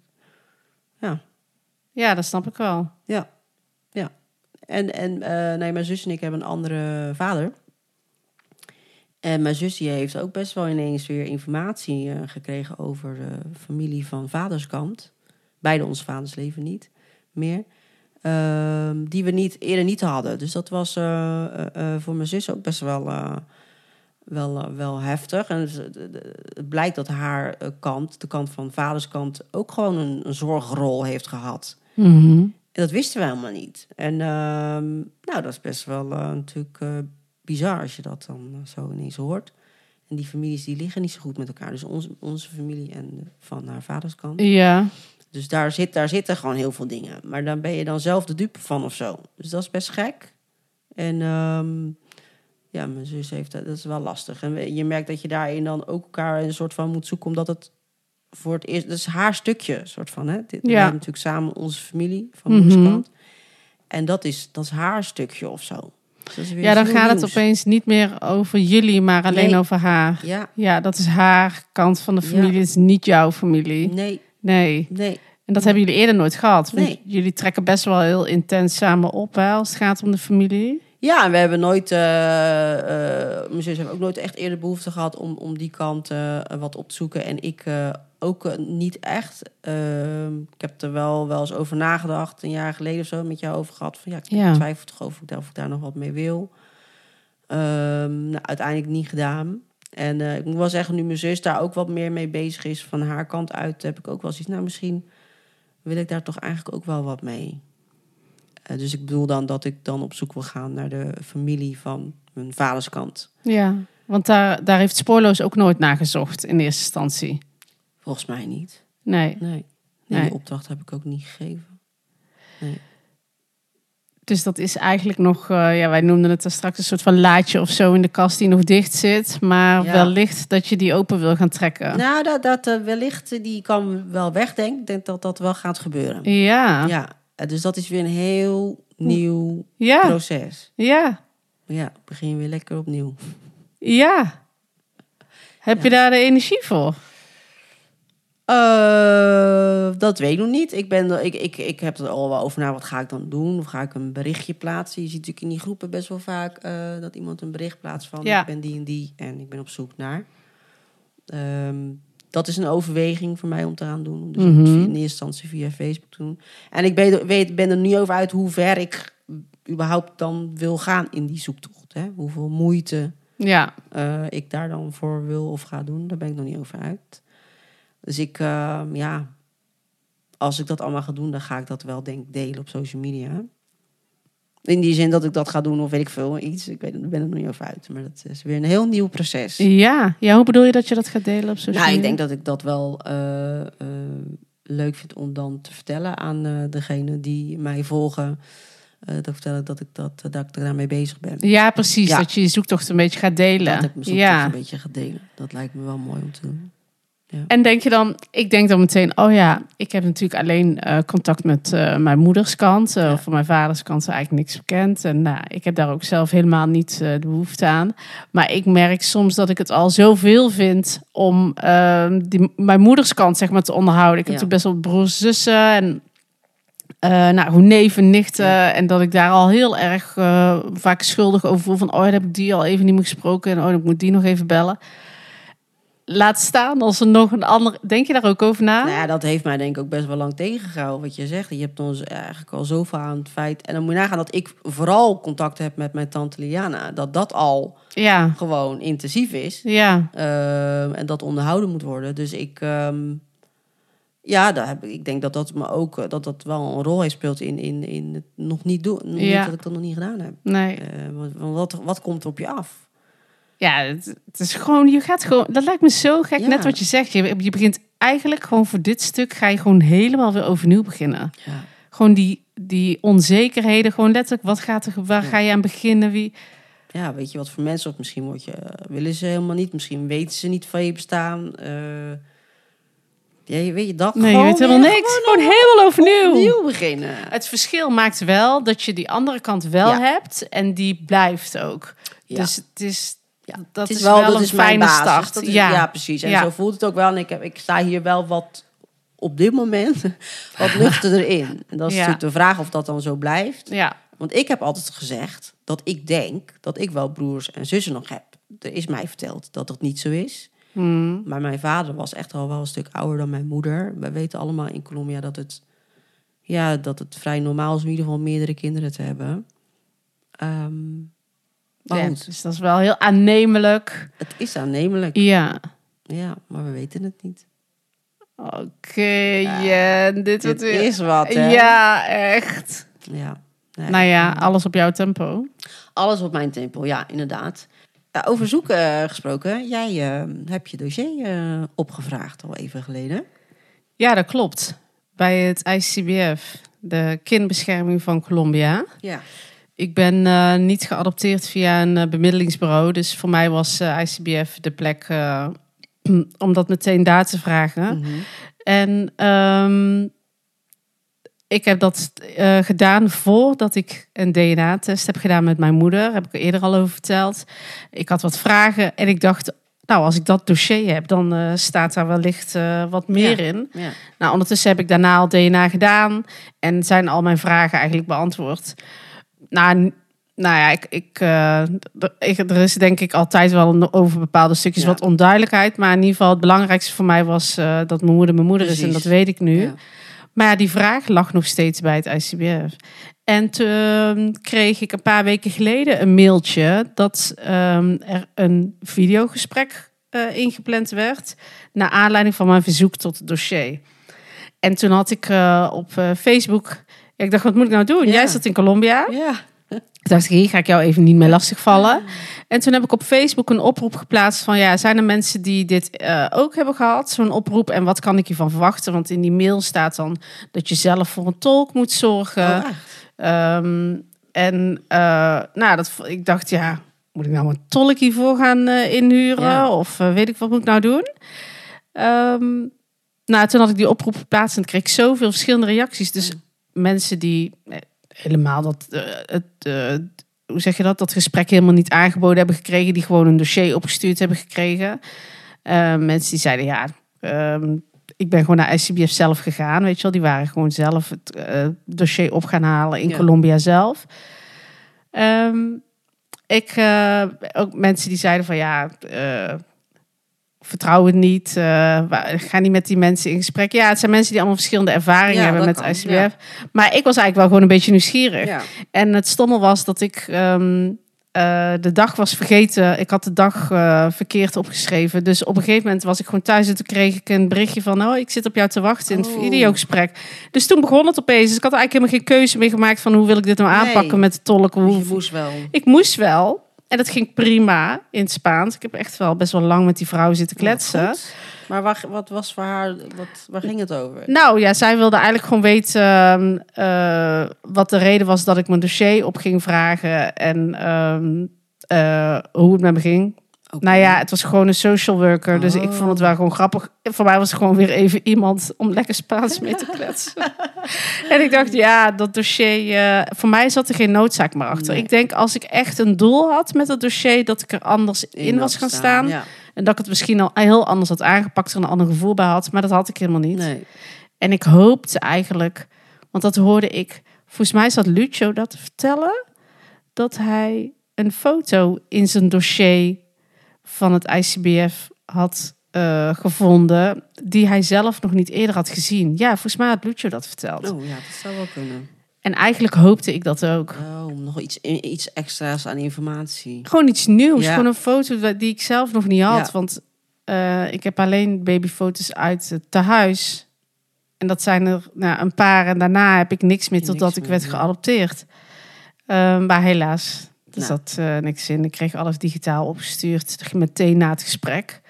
A: ja dat snap ik wel.
B: Ja, ja. En, en eh, nee, mijn zus en ik hebben een andere vader. En mijn zus die heeft ook best wel ineens weer informatie eh, gekregen over de familie van vaderskant. Beide onze vaders leven niet meer. Ehm, die we niet, eerder niet hadden. Dus dat was eh, eh, eh, voor mijn zus ook best wel, eh, wel, eh, wel heftig. En dus, eh, de- de- het blijkt dat haar eh, kant, de kant van vaderskant, ook gewoon een, een zorgrol heeft gehad.
A: Mhm.
B: En dat wisten we helemaal niet. En ehm, nou, dat is best wel eh, natuurlijk eh, bizar als je dat dan eh, zo ineens hoort. En die families die liggen niet zo goed met elkaar. Dus onze, onze familie en de- van haar vaders kant.
A: Ja.
B: Dus daar, zit, daar zitten gewoon heel veel dingen. Maar daar ben je dan zelf de dupe van of zo. Dus dat is best gek. En ehm, ja, mijn zus heeft dat. Dat is wel lastig. En we- je merkt dat je daarin dan ook elkaar een soort van moet zoeken. Omdat het voor het eerst... Dat is haar stukje, soort van. Hè? Dit, We
A: Ja.
B: hebben natuurlijk samen onze familie van moeders
A: Mhm.
B: kant. En dat is, dat is haar stukje of zo. Dus dat is weer
A: ja, dan
B: iets heel
A: gaat het
B: nieuws.
A: opeens niet meer over jullie, maar alleen
B: Nee.
A: over haar.
B: Ja,
A: Ja, dat is haar kant van de
B: Ja.
A: familie. Het is niet jouw familie.
B: nee,
A: Nee.
B: nee.
A: En dat hebben jullie eerder nooit gehad. Want
B: Nee.
A: jullie trekken best wel heel intens samen op hè, als het gaat om de familie.
B: Ja, en we hebben nooit, eh, eh, mijn zus heeft ook nooit echt eerder behoefte gehad om, om die kant eh, wat op te zoeken. En ik eh, ook eh, niet echt. Ehm, ik heb er wel, wel eens over nagedacht, een jaar geleden of zo, met jou over gehad. Van ja, ik
A: Ja.
B: twijfel toch over of ik daar, of ik daar nog wat mee wil. Ehm, nou, uiteindelijk niet gedaan. En eh, ik moet wel zeggen, nu mijn zus daar ook wat meer mee bezig is, van haar kant uit, heb ik ook wel zoiets. Nou, misschien wil ik daar toch eigenlijk ook wel wat mee. Eh, dus ik bedoel dan dat ik dan op zoek wil gaan naar de familie van mijn vaders kant.
A: Ja. Want daar, daar heeft Spoorloos ook nooit naar gezocht in eerste instantie.
B: Volgens mij niet.
A: Nee.
B: Nee. nee,
A: Nee.
B: Die opdracht heb ik ook niet gegeven.
A: Dus dat is eigenlijk nog, eh, ja, wij noemden het daar straks een soort van laadje of zo in de kast die nog dicht zit. Maar
B: Ja.
A: wellicht dat je die open wil gaan trekken.
B: Nou, dat, dat eh, wellicht, eh, die kan wel wegdenken. Ik denk dat dat wel gaat gebeuren.
A: Ja. Ja.
B: Ja. eh, Dus dat is weer een heel nieuw
A: Ja.
B: proces.
A: ja.
B: Ja, begin je weer lekker opnieuw.
A: Heb je daar de energie voor?
B: Eh, dat weet ik nog niet. Ik, ben, er- ik, ik, ik heb er al wel over na. Wat ga ik dan doen? Of ga ik een berichtje plaatsen? Je ziet natuurlijk in die groepen best wel vaak eh, dat iemand een bericht plaatst van...
A: Ja.
B: ik ben die en die en ik ben op zoek naar. Ehm, dat is een overweging voor mij om te gaan doen. Dus ik moet
A: Mhm.
B: via- in eerste instantie via Facebook doen. En ik weet, weet, ben er niet over uit hoe ver ik überhaupt dan wil gaan in die zoektocht. Hè? Hoeveel moeite
A: Ja.
B: eh, ik daar dan voor wil of ga doen, daar ben ik nog niet over uit. Dus ik, eh, ja, als ik dat allemaal ga doen, dan ga ik dat wel denk ik, delen op social media. In die zin dat ik dat ga doen of weet ik veel, iets. Ik weet, ik ben er nog niet over uit, maar dat is weer een heel nieuw proces.
A: Ja. Ja, hoe bedoel je dat je dat gaat delen op social
B: Nou, ik
A: media?
B: denk dat ik dat wel eh, eh, leuk vind om dan te vertellen aan eh degene die mij volgen. eh te vertellen dat ik, dat, dat ik daarmee bezig ben.
A: Ja, precies.
B: Ja.
A: Dat je je zoektocht een beetje gaat delen.
B: Dat ik me soms toch
A: ja.
B: een beetje ga delen. Dat lijkt me wel mooi om te doen.
A: En denk je dan, ik denk dan meteen, oh ja, ik heb natuurlijk alleen eh, contact met eh, mijn moeders kant. eh,
B: Ja.
A: Of van mijn vaders kant is eigenlijk niks bekend. En nou, ik heb daar ook zelf helemaal niet eh, de behoefte aan. Maar ik merk soms dat ik het al zoveel vind om ehm, die, mijn moeders kant zeg maar te onderhouden. Ik heb
B: Ja.
A: natuurlijk best wel broers, zussen en eh, nou, hoe neven, nichten. En dat ik daar al heel erg eh, vaak schuldig over voel. Van, oh, daar heb ik die al even niet meer gesproken. En oh, ik moet die nog even bellen. Laat staan als er nog een ander... Denk je daar ook over na?
B: Nou ja, dat heeft mij denk ik ook best wel lang tegengehouden wat je zegt. Je hebt ons eigenlijk al zoveel aan het feit. En dan moet je nagaan dat ik vooral contact heb met mijn tante Liana. Dat dat al
A: Ja,
B: gewoon intensief is.
A: ja.
B: Ehm, en dat onderhouden moet worden. Dus ik, ehm, ja, daar heb, ik- ik denk dat dat me ook eh, dat dat wel een rol heeft speelt in, in, in het nog niet doen. Nog niet
A: Ja.
B: dat ik dat nog niet gedaan heb.
A: Nee.
B: Eh, want- want wat, wat komt er op je af?
A: Ja, het, het is gewoon... Je gaat gewoon... Dat lijkt me zo gek,
B: Ja.
A: net wat je zegt. Je, je begint eigenlijk gewoon voor dit stuk... ga je gewoon helemaal weer overnieuw beginnen.
B: Ja.
A: Gewoon die, die onzekerheden. Gewoon letterlijk, wat gaat er, waar
B: Ja.
A: ga je aan beginnen? Wie...
B: ja, weet je wat voor mensen of misschien word je, willen ze helemaal niet, misschien weten ze niet van je bestaan. eh ja, je weet je dat
A: Nee, je
B: gewoon
A: weet helemaal
B: weer
A: niks.
B: Gewoon
A: Gewoon helemaal overnieuw.
B: opnieuw beginnen.
A: Het verschil maakt wel dat je die andere kant wel
B: Ja.
A: hebt en die blijft ook.
B: Ja.
A: Dus het is,
B: Ja.
A: dat
B: Het
A: is, wel,
B: dat
A: een
B: is mijn
A: fijne
B: basis.
A: start.
B: Dat is-
A: ja.
B: ja. precies. En
A: Ja.
B: zo voelt het ook wel. En ik, heb, ik sta hier wel wat op dit moment wat nuchter erin. En dat is
A: Ja.
B: natuurlijk de vraag of dat dan zo blijft.
A: Ja.
B: Want ik heb altijd gezegd dat ik denk dat ik wel broers en zussen nog heb. er is mij verteld dat dat niet zo is.
A: Hmm.
B: Maar mijn vader was echt al wel een stuk ouder dan mijn moeder. We weten allemaal in Colombia dat het, ja, dat het vrij normaal is om in ieder geval meerdere kinderen te hebben. Ehm, maar
A: Ja,
B: goed,
A: dus dat is wel heel aannemelijk.
B: het is aannemelijk.
A: Ja.
B: Ja, maar we weten het niet.
A: Oké, Jen, dit wordt
B: Het
A: weer...
B: is wat, hè?
A: Ja, echt.
B: Ja. Nee.
A: Nou ja, alles op jouw tempo.
B: Alles op mijn tempel, ja, inderdaad. Ja, over zoeken eh, gesproken, jij eh, hebt je dossier eh, opgevraagd al even geleden.
A: Ja, dat klopt. Bij het ICBF, de kindbescherming van Colombia.
B: Ja.
A: Ik ben eh, niet geadopteerd via een eh, bemiddelingsbureau. Dus voor mij was eh, ICBF de plek eh, om dat meteen daar te vragen. En ehm, ik heb dat eh, gedaan voordat ik een DNA-test heb gedaan met mijn moeder. Heb ik er eerder al over verteld. Ik had wat vragen en ik dacht, nou, als ik dat dossier heb, dan eh, staat daar wellicht eh, wat meer in.
B: ja.
A: Nou, ondertussen heb ik daarna al DNA gedaan en zijn al mijn vragen eigenlijk beantwoord. Nou, n- nou ja, ik, ik, eh, d- ik- er is denk ik altijd wel een- over bepaalde stukjes
B: Ja.
A: wat onduidelijkheid. Maar in ieder geval, het belangrijkste voor mij was eh, dat mijn moeder mijn moeder is en
B: Precies.
A: dat weet ik nu.
B: Ja.
A: Maar ja, die vraag lag nog steeds bij het ICBF. En toen kreeg ik een paar weken geleden een mailtje dat ehm, er een videogesprek eh, ingepland werd. Naar aanleiding van mijn verzoek tot het dossier. En toen had ik eh, op eh, Facebook. Ik dacht, wat moet ik nou doen?
B: Ja.
A: Jij zat in Colombia.
B: Ja.
A: Toen dacht ik, hier ga ik jou even niet meer lastigvallen. En toen heb ik op Facebook een oproep geplaatst van... ja, zijn er mensen die dit eh, ook hebben gehad, zo'n oproep? En wat kan ik hiervan verwachten? Want in die mail staat dan dat je zelf voor een tolk moet zorgen.
B: Oh, echt?
A: Ehm, en eh, nou, dat, vo- ik dacht, ja, moet ik nou een tolk hiervoor gaan eh, inhuren?
B: Ja.
A: Of eh, weet ik wat moet ik nou doen? Ehm, nou, toen had ik die oproep geplaatst en kreeg ik zoveel verschillende reacties. Dus mensen die eh, helemaal dat, eh, het, eh, hoe zeg je dat, dat gesprek helemaal niet aangeboden hebben gekregen, die gewoon een dossier opgestuurd hebben gekregen. Eh, mensen die zeiden, ja, ehm, ik ben gewoon naar SCBF zelf gegaan, weet je wel. Die waren gewoon zelf het eh, dossier op gaan halen in
B: Ja.
A: Colombia zelf. Ehm, ik, eh, ook mensen die zeiden van, ja, eh, vertrouw het niet, eh, wa- ga niet met die mensen in gesprek. Ja, het zijn mensen die allemaal verschillende ervaringen
B: Ja,
A: hebben
B: dat
A: met
B: kan,
A: ICBF. Maar ik was eigenlijk wel gewoon een beetje nieuwsgierig.
B: Ja.
A: En het stomme was dat ik ehm, eh, de dag was vergeten. Ik had de dag eh, verkeerd opgeschreven. Dus op een gegeven moment was ik gewoon thuis en toen kreeg ik een berichtje van: Oh, ik zit op jou te wachten in het
B: Oh.
A: videogesprek. Dus toen begon het opeens. Dus ik had eigenlijk helemaal geen keuze meer gemaakt van hoe wil ik dit nou
B: Nee.
A: aanpakken met de tolk. Hoe,
B: Dus Je moest wel.
A: ik moest wel. En dat ging prima in het Spaans. Ik heb echt wel best wel lang met die vrouw zitten kletsen.
B: Oh, Goed. Maar waar, wat was voor haar, wat, waar ging het over?
A: Nou ja, zij wilde eigenlijk gewoon weten ehm, eh, wat de reden was dat ik mijn dossier op ging vragen en ehm, eh, hoe het met me ging.
B: Oké.
A: Nou ja, het was gewoon een social worker, dus ik vond het wel gewoon grappig. Voor mij was het gewoon weer even iemand om lekker Spaans mee te kletsen. en ik dacht, ja, dat dossier, eh, voor mij zat er geen noodzaak meer achter.
B: Nee.
A: Ik denk als ik echt een doel had met dat dossier, dat ik er anders in,
B: had
A: was gaan staan.
B: Ja.
A: En dat ik het misschien al heel anders had aangepakt, er een ander gevoel bij had, maar dat had ik helemaal niet.
B: Nee.
A: En ik hoopte eigenlijk, want dat hoorde ik. Volgens mij zat Lucio dat te vertellen. Dat hij een foto in zijn dossier van het ICBF had eh, gevonden. Die hij zelf nog niet eerder had gezien. Ja, volgens mij had Lucio dat verteld.
B: Oh ja, dat zou wel kunnen.
A: En eigenlijk hoopte ik dat ook.
B: Oh, nog iets, iets extra's aan informatie.
A: Gewoon iets nieuws.
B: Ja.
A: Gewoon een foto die ik zelf nog niet had.
B: Ja.
A: Want eh, ik heb alleen babyfoto's uit het tehuis. En dat zijn er nou, een paar. En daarna heb ik niks meer
B: Niks
A: totdat ik
B: meer,
A: werd
B: ja.
A: geadopteerd. Eh, maar helaas, dus
B: Nou.
A: dat eh, niks in. Ik kreeg alles digitaal opgestuurd. Meteen na het gesprek.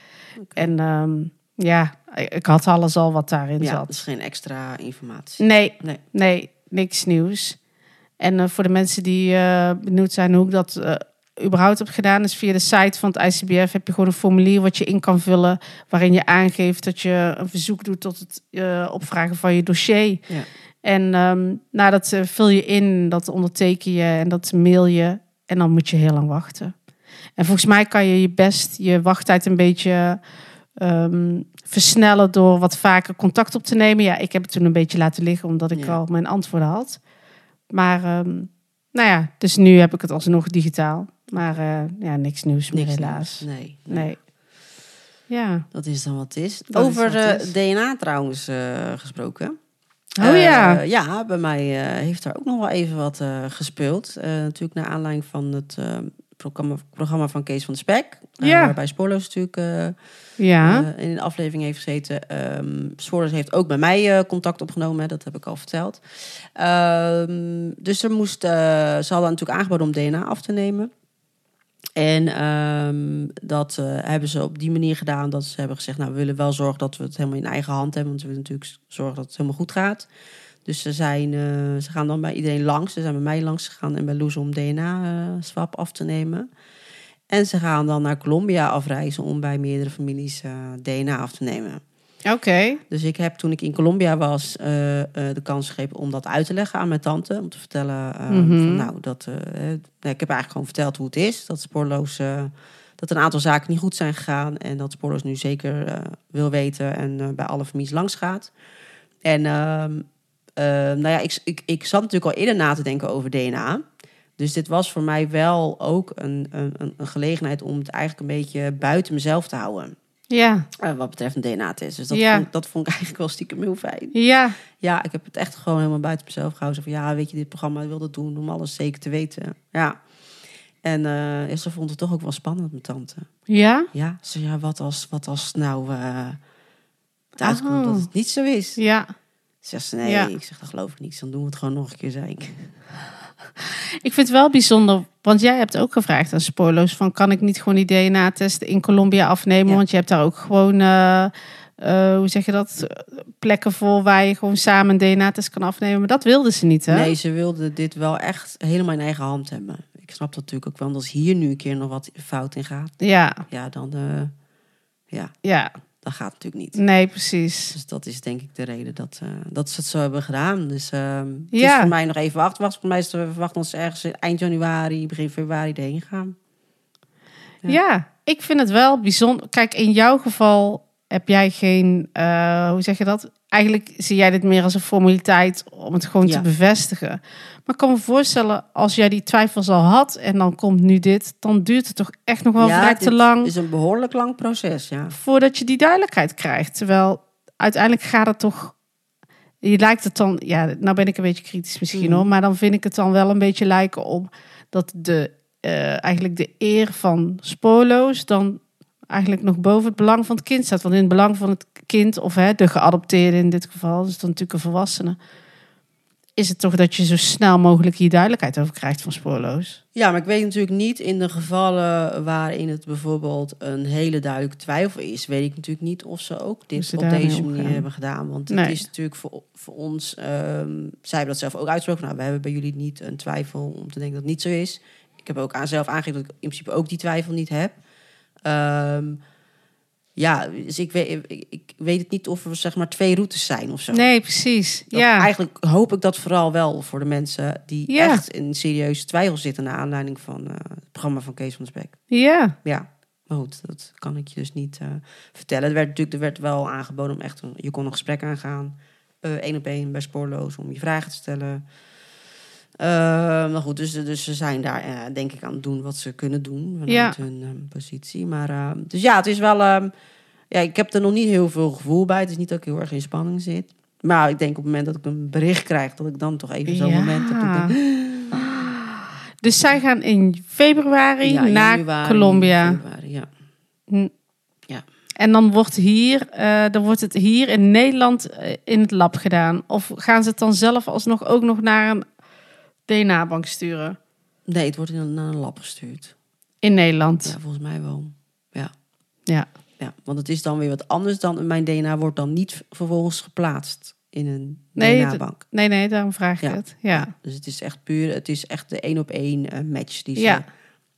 A: En ehm, ja, ik had alles al wat daarin
B: Ja,
A: zat.
B: dat is geen extra informatie.
A: Nee, nee,
B: Nee.
A: niks nieuws. En eh, voor de mensen die eh, benieuwd zijn hoe ik dat eh, überhaupt heb gedaan, is via de site van het ICBF heb je gewoon een formulier wat je in kan vullen, waarin je aangeeft dat je een verzoek doet tot het eh, opvragen van je dossier.
B: Ja.
A: En ehm nou, dat eh, vul je in, dat onderteken je en dat mail je. En dan moet je heel lang wachten. En volgens mij kan je je best je wachttijd een beetje ehm, versnellen door wat vaker contact op te nemen. Ja, ik heb het toen een beetje laten liggen omdat ik
B: Ja.
A: al mijn antwoorden had. Maar ehm, Nou ja, dus nu heb ik het alsnog digitaal. Maar eh, ja, niks nieuws meer
B: Niks
A: helaas.
B: nieuws. Nee, nee.
A: Nee. Ja.
B: Dat is dan wat het is.
A: Dat is
B: Over
A: wat het
B: eh,
A: is.
B: DNA trouwens eh, gesproken.
A: Oh ja.
B: Eh, ja, bij mij eh, heeft daar ook nog wel even wat eh, gespeeld. Eh, natuurlijk naar aanleiding van het eh, programma, programma van Kees van de Spek. eh,
A: Ja.
B: Waarbij Spoorloos natuurlijk eh,
A: Ja.
B: eh, in een aflevering heeft gezeten. Ehm Spoorloos heeft ook bij mij eh, contact opgenomen. hè, dat heb ik al verteld. Ehm, dus er moest, eh, ze hadden natuurlijk aangeboden om DNA af te nemen. En ehm, dat eh, hebben ze op die manier gedaan dat ze hebben gezegd... nou, we willen wel zorgen dat we het helemaal in eigen hand hebben... want we willen natuurlijk zorgen dat het helemaal goed gaat. Dus ze, zijn, eh, ze gaan dan bij iedereen langs. Ze zijn bij mij langs gegaan en bij Loes om DNA-swap eh, af te nemen. En ze gaan dan naar Colombia afreizen om bij meerdere families eh, DNA af te nemen.
A: Oké.
B: Dus ik heb toen ik in Colombia was eh, eh, de kans gegeven om dat uit te leggen aan mijn tante. Om te vertellen, eh,
A: Mhm.
B: van, nou, dat, eh, eh, nou, ik heb eigenlijk gewoon verteld hoe het is. Dat spoorloos, eh, dat een aantal zaken niet goed zijn gegaan. En dat spoorloos nu zeker eh, wil weten en eh, bij alle families langs gaat. En ehm, eh, nou ja, ik, ik, ik zat natuurlijk al eerder na te denken over DNA. Dus dit was voor mij wel ook een, een, een- een gelegenheid om het eigenlijk een beetje buiten mezelf te houden.
A: Ja.
B: Eh, wat betreft een DNA-test. Dus dat,
A: Ja.
B: vond, dat vond ik eigenlijk wel stiekem heel fijn.
A: Ja.
B: Ja, ik heb het echt gewoon helemaal buiten mezelf gehouden. Zo van, ja, weet je, dit programma wil dat doen om alles zeker te weten. Ja. En eh ja, ze vond het toch ook wel spannend, mijn tante.
A: Ja.
B: Ja, ze zei, ja, wat als, wat als nou eh het uitkomt
A: Oh.
B: dat het niet zo is?
A: Ja.
B: Zegt ze, nee.
A: Ja.
B: Ik zeg, dat geloof ik niet. Dus Dan doen we het gewoon nog een keer, zei ik.
A: Ik vind het wel bijzonder, want jij hebt ook gevraagd aan Spoorloos van kan ik niet gewoon die DNA-testen in Colombia afnemen?
B: Ja.
A: Want je hebt daar ook gewoon, eh, eh, hoe zeg je dat, plekken voor waar je gewoon samen een DNA-test kan afnemen. Maar dat wilden ze niet, hè?
B: Nee, ze wilde dit wel echt helemaal in eigen hand hebben. Ik snap dat natuurlijk ook wel. want als hier nu een keer nog wat fout in gaat,
A: Ja,
B: ja, dan, eh, ja,
A: ja,
B: dan gaat het natuurlijk niet.
A: nee, precies.
B: Dus dat is denk ik de reden dat, eh, dat ze het zo hebben gedaan. Dus ehm het
A: Ja.
B: is voor mij nog even wachten. Wacht, voor mij is het verwacht dat ze ergens eind januari, begin februari erheen gaan.
A: Ja. ik vind het wel bijzonder. Kijk, in jouw geval heb jij geen, eh, hoe zeg je dat? Eigenlijk zie jij dit meer als een formaliteit om het gewoon
B: Ja.
A: te bevestigen. Maar ik kan me voorstellen, als jij die twijfels al had en dan komt nu dit, dan duurt het toch echt nog wel vrij
B: dit
A: te lang
B: is een behoorlijk lang proces, ja.
A: voordat je die duidelijkheid krijgt. Terwijl uiteindelijk gaat het toch. Je lijkt het dan, ja, nou ben ik een beetje kritisch misschien
B: Mhm.
A: hoor, maar dan vind ik het dan wel een beetje lijken op dat de, eh, eigenlijk de eer van spoorloos dan eigenlijk nog boven het belang van het kind staat. Want in het belang van het kind, of hè, de geadopteerde in dit geval, dus dan natuurlijk een volwassene, is het toch dat je zo snel mogelijk hier duidelijkheid over krijgt van spoorloos.
B: Ja, maar ik weet natuurlijk niet in de gevallen waarin het bijvoorbeeld een hele duidelijke twijfel is, weet ik natuurlijk niet of ze ook
A: Hoe ze
B: dit op
A: daarmee
B: deze
A: omgaan.
B: manier hebben gedaan. Want
A: Nee.
B: het is natuurlijk voor, voor ons, ehm, zij hebben dat zelf ook uitgesproken. Nou, we hebben bij jullie niet een twijfel om te denken dat het niet zo is. Ik heb ook aan zelf aangegeven dat ik in principe ook die twijfel niet heb. Ehm, ja, dus ik weet, ik, ik weet het niet of er zeg maar twee routes zijn of zo.
A: Nee, precies.
B: Dat-
A: ja.
B: Eigenlijk hoop ik dat vooral wel voor de mensen die
A: Ja.
B: echt in serieuze twijfel zitten naar aanleiding van eh, het programma van Kees van Spek.
A: Ja.
B: Ja, maar goed, dat kan ik je dus niet eh, vertellen. Er werd natuurlijk er werd wel aangeboden om echt een, je kon een gesprek aangaan, eh, één op één bij spoorloos om je vragen te stellen. Eh, maar goed, dus, dus ze zijn daar eh, denk ik aan het doen wat ze kunnen doen vanuit hun eh, positie. Maar eh, dus ja, het is wel. eh, ja, ik heb er nog niet heel veel gevoel bij. Het is niet dat ik heel erg in spanning zit. Maar ik denk op het moment dat ik een bericht krijg, dat ik dan toch even zo'n
A: Ja.
B: moment heb. dat ik denk,
A: Dus zij gaan in februari
B: ja,
A: naar
B: januari,
A: Colombia. Hm.
B: februari, ja.
A: En dan wordt, hier, eh, dan wordt het hier in Nederland eh, in het lab gedaan. Of gaan ze het dan zelf alsnog ook nog naar een DNA-bank sturen?
B: Nee, het wordt in een- naar een lab gestuurd.
A: In Nederland.
B: Ja, volgens mij wel. Ja.
A: Ja.
B: ja. Want het is dan weer wat anders dan mijn DNA wordt dan niet v- vervolgens geplaatst in een
A: Nee, dat-
B: DNA-bank.
A: Nee, nee, daarom vraag ik
B: Ja.
A: het. Ja.
B: Dus het is echt puur, het is echt de één op één eh, match die ze
A: Ja.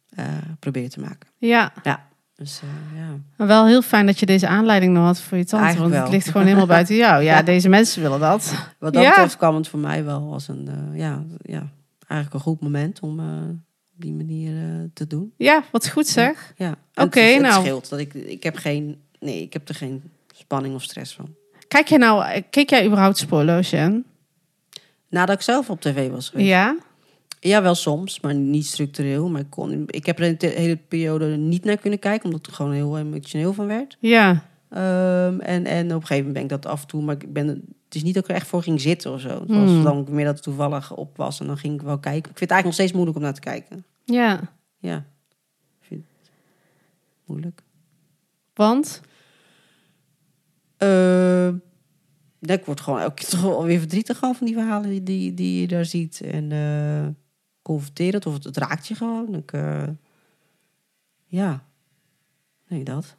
B: eh, probeert te maken.
A: ja.
B: Ja. Dus eh, ja.
A: Maar wel heel fijn dat je deze aanleiding nog had voor je tante.
B: Eigenlijk
A: want het
B: wel.
A: ligt gewoon helemaal buiten jou. Ja,
B: Ja.
A: deze mensen willen dat.
B: Wat dat
A: Ja.
B: betreft kwam het voor mij wel als een, eh, ja, ja, eigenlijk een goed moment om eh, op die manier eh, te doen.
A: Ja, wat goed zeg.
B: Ja. En het-
A: Oké,
B: het,
A: nou.
B: scheelt dat ik, ik heb geen, nee, ik heb er geen spanning of stress van.
A: Kijk jij nou, keek jij überhaupt spoorloos, Jen?
B: Nadat ik zelf op tv was geweest.
A: Ja?
B: Ja, wel soms, maar niet structureel. Maar ik, kon, ik heb er een te- hele periode niet naar kunnen kijken, omdat ik er gewoon heel emotioneel van werd.
A: Ja,
B: Ehm, en, en op een gegeven moment ben ik dat af en toe, maar ik ben, het is niet dat ik er echt voor ging zitten of zo. Het was
A: Hmm.
B: dan meer dat het toevallig op was en dan ging ik wel kijken. Ik vind het eigenlijk nog steeds moeilijk om naar te kijken.
A: ja.
B: Ja, ik vind het moeilijk.
A: Want?
B: Eh, nee, ik word gewoon elke keer toch wel weer verdrietig gewoon van die verhalen die, die je daar ziet. En eh confronterend, of het, het raakt je gewoon. Ik, eh, ja, nee, dat.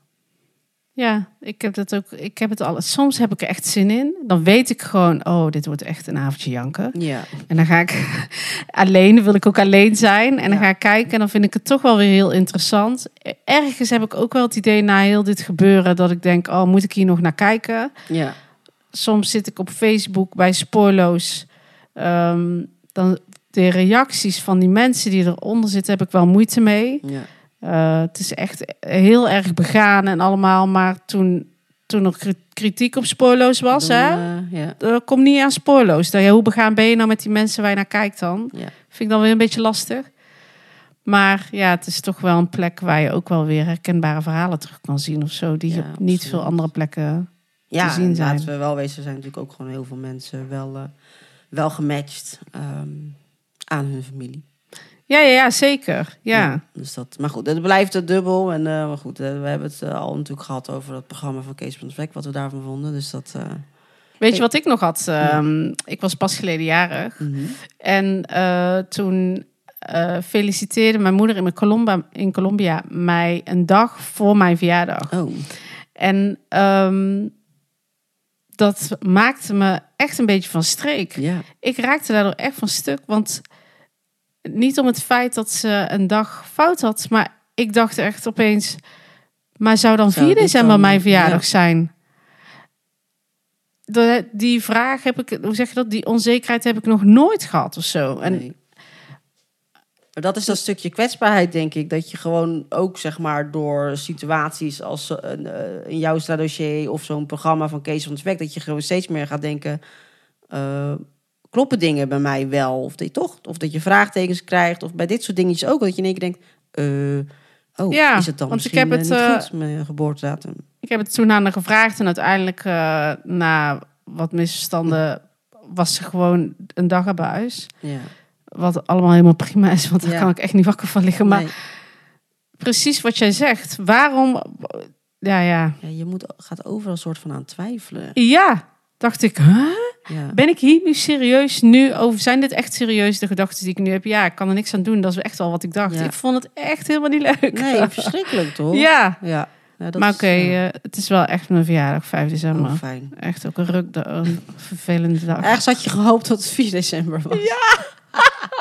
A: Ja, ik heb dat ook. Ik heb het al. Soms heb ik er echt zin in. Dan weet ik gewoon, oh, dit wordt echt een avondje janken.
B: Ja,
A: En dan ga ik alleen, dan wil ik ook alleen zijn. En dan
B: Ja.
A: ga ik kijken en dan vind ik het toch wel weer heel interessant. E-, Ergens heb ik ook wel het idee na heel dit gebeuren dat ik denk, oh, moet ik hier nog naar kijken?
B: ja,
A: Soms zit ik op Facebook bij Spoorloos. Ehm, dan de reacties van die mensen die eronder zitten, heb ik wel moeite mee.
B: ja.
A: Eh, het is echt heel erg begaan en allemaal. Maar toen, toen er kri- kritiek op spoorloos was,
B: Dan,
A: hè?
B: eh, ja,
A: Eh, kom niet aan spoorloos. Dan, ja, hoe begaan ben je nou met die mensen waar je naar kijkt dan?
B: ja.
A: Vind ik dan weer een beetje lastig. Maar ja, het is toch wel een plek waar je ook wel weer herkenbare verhalen terug kan zien of zo. Die je
B: Ja,
A: op niet
B: absoluut.
A: veel andere plekken.
B: Ja,
A: te zien
B: en
A: zijn.
B: laten we wel wezen, er zijn natuurlijk ook gewoon heel veel mensen wel, eh, wel gematcht ehm, aan hun familie.
A: Ja, ja, ja zeker. Ja.
B: dus dat, maar goed, het blijft het dubbel. En eh, maar goed, eh, we hebben het eh, al natuurlijk gehad over dat programma van Kees van de Vlek, wat we daarvan vonden. Dus dat. eh,
A: Weet
B: Ik-
A: je wat ik nog had? Ehm, Ik was pas geleden jarig. En eh, toen eh, feliciteerde mijn moeder in, mijn Colomba, in Colombia mij een dag voor mijn verjaardag.
B: Oh,
A: En ehm, dat maakte me echt een beetje van streek.
B: ja.
A: Ik raakte daardoor echt van stuk, want niet om het feit dat ze een dag fout had, maar ik dacht echt opeens, maar zou dan
B: Zou
A: 4
B: dit
A: december
B: dan-
A: mijn verjaardag zijn? De, die vraag heb ik, hoe zeg je dat, die onzekerheid heb ik nog nooit gehad of zo. En
B: nee. Maar dat is dat stukje kwetsbaarheid, denk ik. Dat je gewoon ook, zeg maar, door situaties als eh, een, eh, een jouw dossier of zo'n programma van Kees van de Vlek, dat je gewoon steeds meer gaat denken. eh, Kloppen dingen bij mij wel? Of dat je toch? Of dat je vraagtekens krijgt? Of bij dit soort dingetjes ook. Dat je in één keer denkt: eh, Oh,
A: Ja,
B: is het dan?
A: want ik
B: misschien,
A: heb het,
B: eh, niet
A: eh,
B: goed, mijn geboortedatum.
A: Ik heb het toen aan haar gevraagd en uiteindelijk eh, na wat misverstanden was ze gewoon een dag aan huis.
B: Ja.
A: Wat allemaal helemaal prima is, want daar
B: Ja.
A: kan ik echt niet wakker van liggen. Maar
B: Nee.
A: precies wat jij zegt. Waarom? Ja, ja.
B: Ja, je moet, gaat overal een soort van aan twijfelen.
A: Ja, dacht ik. Huh?
B: Ja.
A: Ben ik hier nu serieus nu over? Zijn dit echt serieus de gedachten die ik nu heb? Ja, ik kan er niks aan doen. Dat is echt wel wat ik dacht.
B: Ja.
A: Ik vond het echt helemaal niet leuk.
B: Nee, verschrikkelijk toch?
A: ja,
B: ja. Nou, dat
A: maar
B: is,
A: oké,
B: ja, Oh,
A: eh, het is wel echt mijn verjaardag, 5
B: ook
A: december.
B: fijn.
A: Echt ook een ruk, een vervelende dag.
B: Ergens had je gehoopt dat het 4 december was. Ja!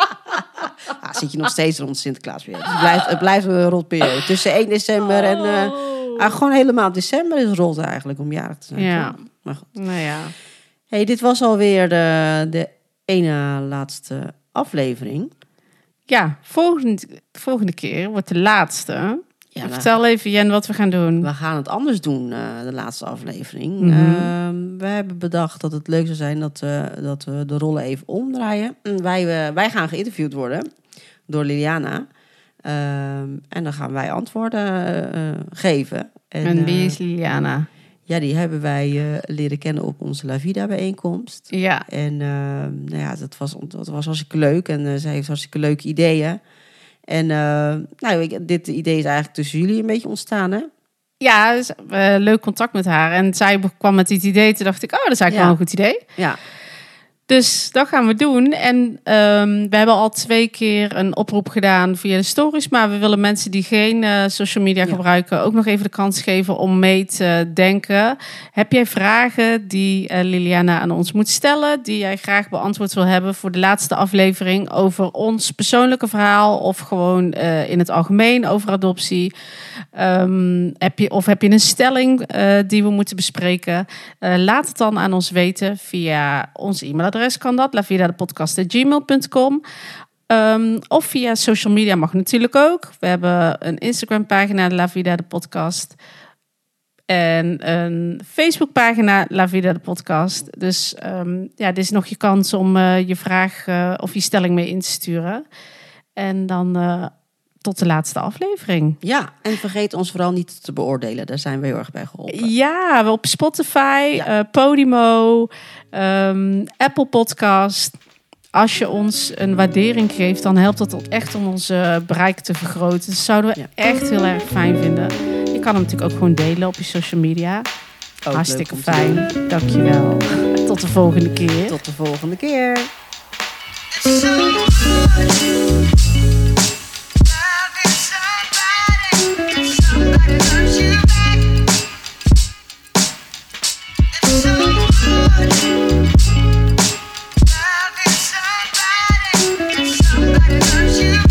B: zit je nog steeds rond Sinterklaas weer. Dus het, blijft, het blijft een rot periode. Tussen 1 december en... eh, ah, gewoon helemaal december is rot eigenlijk om jarig te zijn.
A: Ja.
B: toch? Maar goed.
A: Nou ja.
B: Hey, dit was alweer de, de ene laatste aflevering.
A: Ja, volgende, volgende keer wordt de laatste.
B: Ja, we,
A: Vertel even, Jen, nou. wat we gaan doen.
B: we gaan het anders doen, eh, de laatste aflevering.
A: Mhm.
B: Ehm, we hebben bedacht dat het leuk zou zijn dat, eh, dat we de rollen even omdraaien. En Wij, eh, wij gaan geïnterviewd worden door Liliana. Ehm, en dan gaan wij antwoorden eh, eh, geven.
A: En,
B: eh,
A: wie is Liliana?
B: ja, die hebben wij eh, leren kennen op onze La Vida bijeenkomst.
A: Ja,
B: En ehm, nou ja, dat was, dat was hartstikke leuk. En eh, zij heeft hartstikke leuke ideeën. En eh, nou, ik- dit idee is eigenlijk tussen jullie een beetje ontstaan, hè?
A: ja dus, eh, leuk contact met haar. En zij kwam met dit idee. Toen dacht ik, oh, dat is eigenlijk
B: Ja.
A: wel een goed idee.
B: Ja,
A: Dus dat gaan we doen. En ehm, we hebben al twee keer een oproep gedaan via de stories. Maar we willen mensen die geen eh, social media
B: Ja.
A: gebruiken... ook nog even de kans geven om mee te denken. Heb jij vragen die eh, Liliana aan ons moet stellen... die jij graag beantwoord wil hebben voor de laatste aflevering... over ons persoonlijke verhaal of gewoon eh, in het algemeen over adoptie? Ehm, heb je, of heb je een stelling eh, die we moeten bespreken? Eh, laat het dan aan ons weten via ons e-mailadres kan dat. lavidadepodcast.gmail.com Ehm Of via social media mag natuurlijk ook. We hebben een Instagram pagina, La Vida de Podcast. En een Facebookpagina La Vida de Podcast. Dus ehm, ja, dit is nog je kans om eh, je vraag eh, of je stelling mee in te sturen. En dan eh, tot de laatste aflevering.
B: Ja, en vergeet ons vooral niet te beoordelen. Daar zijn we heel erg bij geholpen.
A: Ja, we op Spotify,
B: Ja.
A: eh, Podimo, ehm, Apple Podcast. Als je ons een waardering geeft, dan helpt dat ook echt om onze bereik te vergroten. Dat zouden we
B: Ja.
A: echt heel erg fijn vinden. Je kan hem natuurlijk ook gewoon delen op je social media.
B: Ook
A: Hartstikke
B: leuk om te
A: fijn.
B: doen.
A: Dankjewel. Tot de volgende keer.
B: Tot de volgende keer.
C: Somebody loves you back. It's so good. Love is somebody. Somebody loves you back.